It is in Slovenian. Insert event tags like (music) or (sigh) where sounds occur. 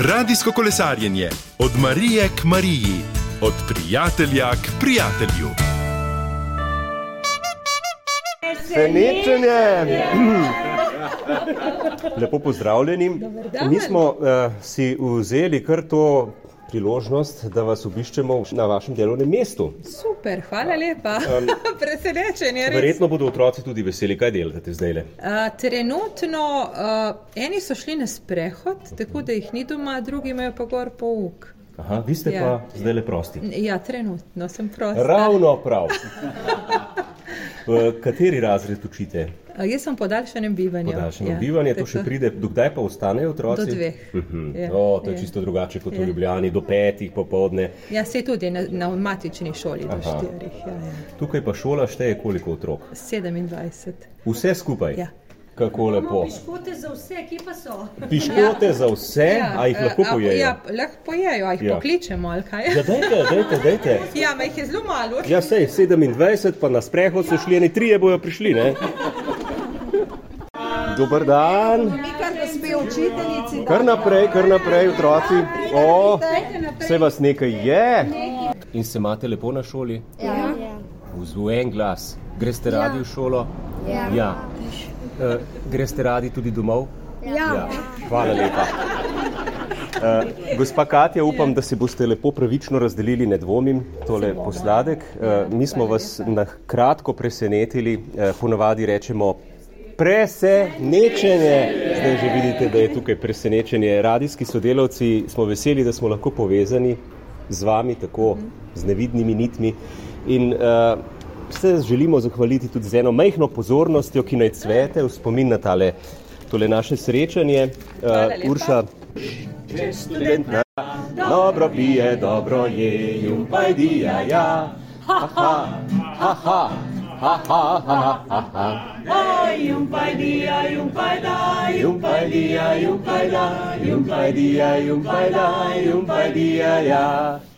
Radijsko kolesarjenje od Marije k Mariji, od prijatelja k prijatelju. Senečenje! (clears throat) Lepo pozdravljeni. Mi smo eh, si vzeli kar to priložnost, da vas obiščemo na vašem delovnem mestu. Super, hvala lepa. (laughs) Presenečen je res. Ja, um, Verjetno bodo otroci tudi veseli, kaj delate zdaj le. Uh, trenutno uh, eni so šli na sprehod, tako da jih ni doma, drugi imajo pa gor pouk. Aha, vi ste Ja. pa zdaj le prosti. Ja, trenutno sem prosta. Ravno (laughs) prav. V kateri razred učite? Uh, jaz sem v podaljšanem bivanju. Podaljšano ja, bivanje, to še tako. pride, dokdaj pa ostanejo otroci? Do dveh. Mhm. Ja, O, to je ja. čisto drugače kot v Ja. Ljubljani, do petih popovdne. Ja, se tudi na, na matični šoli do Aha. štirih. Ja, ja. Tukaj pa šola šteje koliko otrok? 27. Vse skupaj. Ja. Kako lepo. Piškote za vse, ki pa so. Piškote za vse, E, a jih eh, lahko Ja. a po- pojejo. Ja, lahko pojejo, a jih Ja. ja. pokličemo ali kaj. Ja, dajte, dajte, dajte. Ja, ma jih je zelo malo. Ja, sej 27, pa na sprehod so šli, eni trije bojo prišli, ne? Dober dan, Mi kar gospe učiteljici, kar naprej, kar naprej, otroci. O, vse vas nekaj je. In se imate lepo na šoli? Ja. V en glas. Greste radi v šolo? Ja. Eh, greste radi tudi domov? Ja. Ja, hvala lepa. Uh, gospa Katja, upam, da si boste lepo pravično razdelili, ne dvomim, tole posladek. Uh, mi smo vas na kratko presenetili, uh, ponavadi rečemo presenečenje. Zdaj že vidite, da je tukaj presenečenje. Radijski sodelavci smo veseli, da smo lahko povezani z vami, tako z nevidnimi nitmi. In uh, se želimo zahvaliti tudi z eno majhno pozornostjo, ki naj cvete v spomin na tale, tole naše srečanje. Uh, Urša, če študent na dobro pije, dobro je, jum pajdija, ja. Haha, haha, haha, haha, haha. Jumpajdia, jumpajda, jumpajdia, jumpajda, jumpajdia, ja.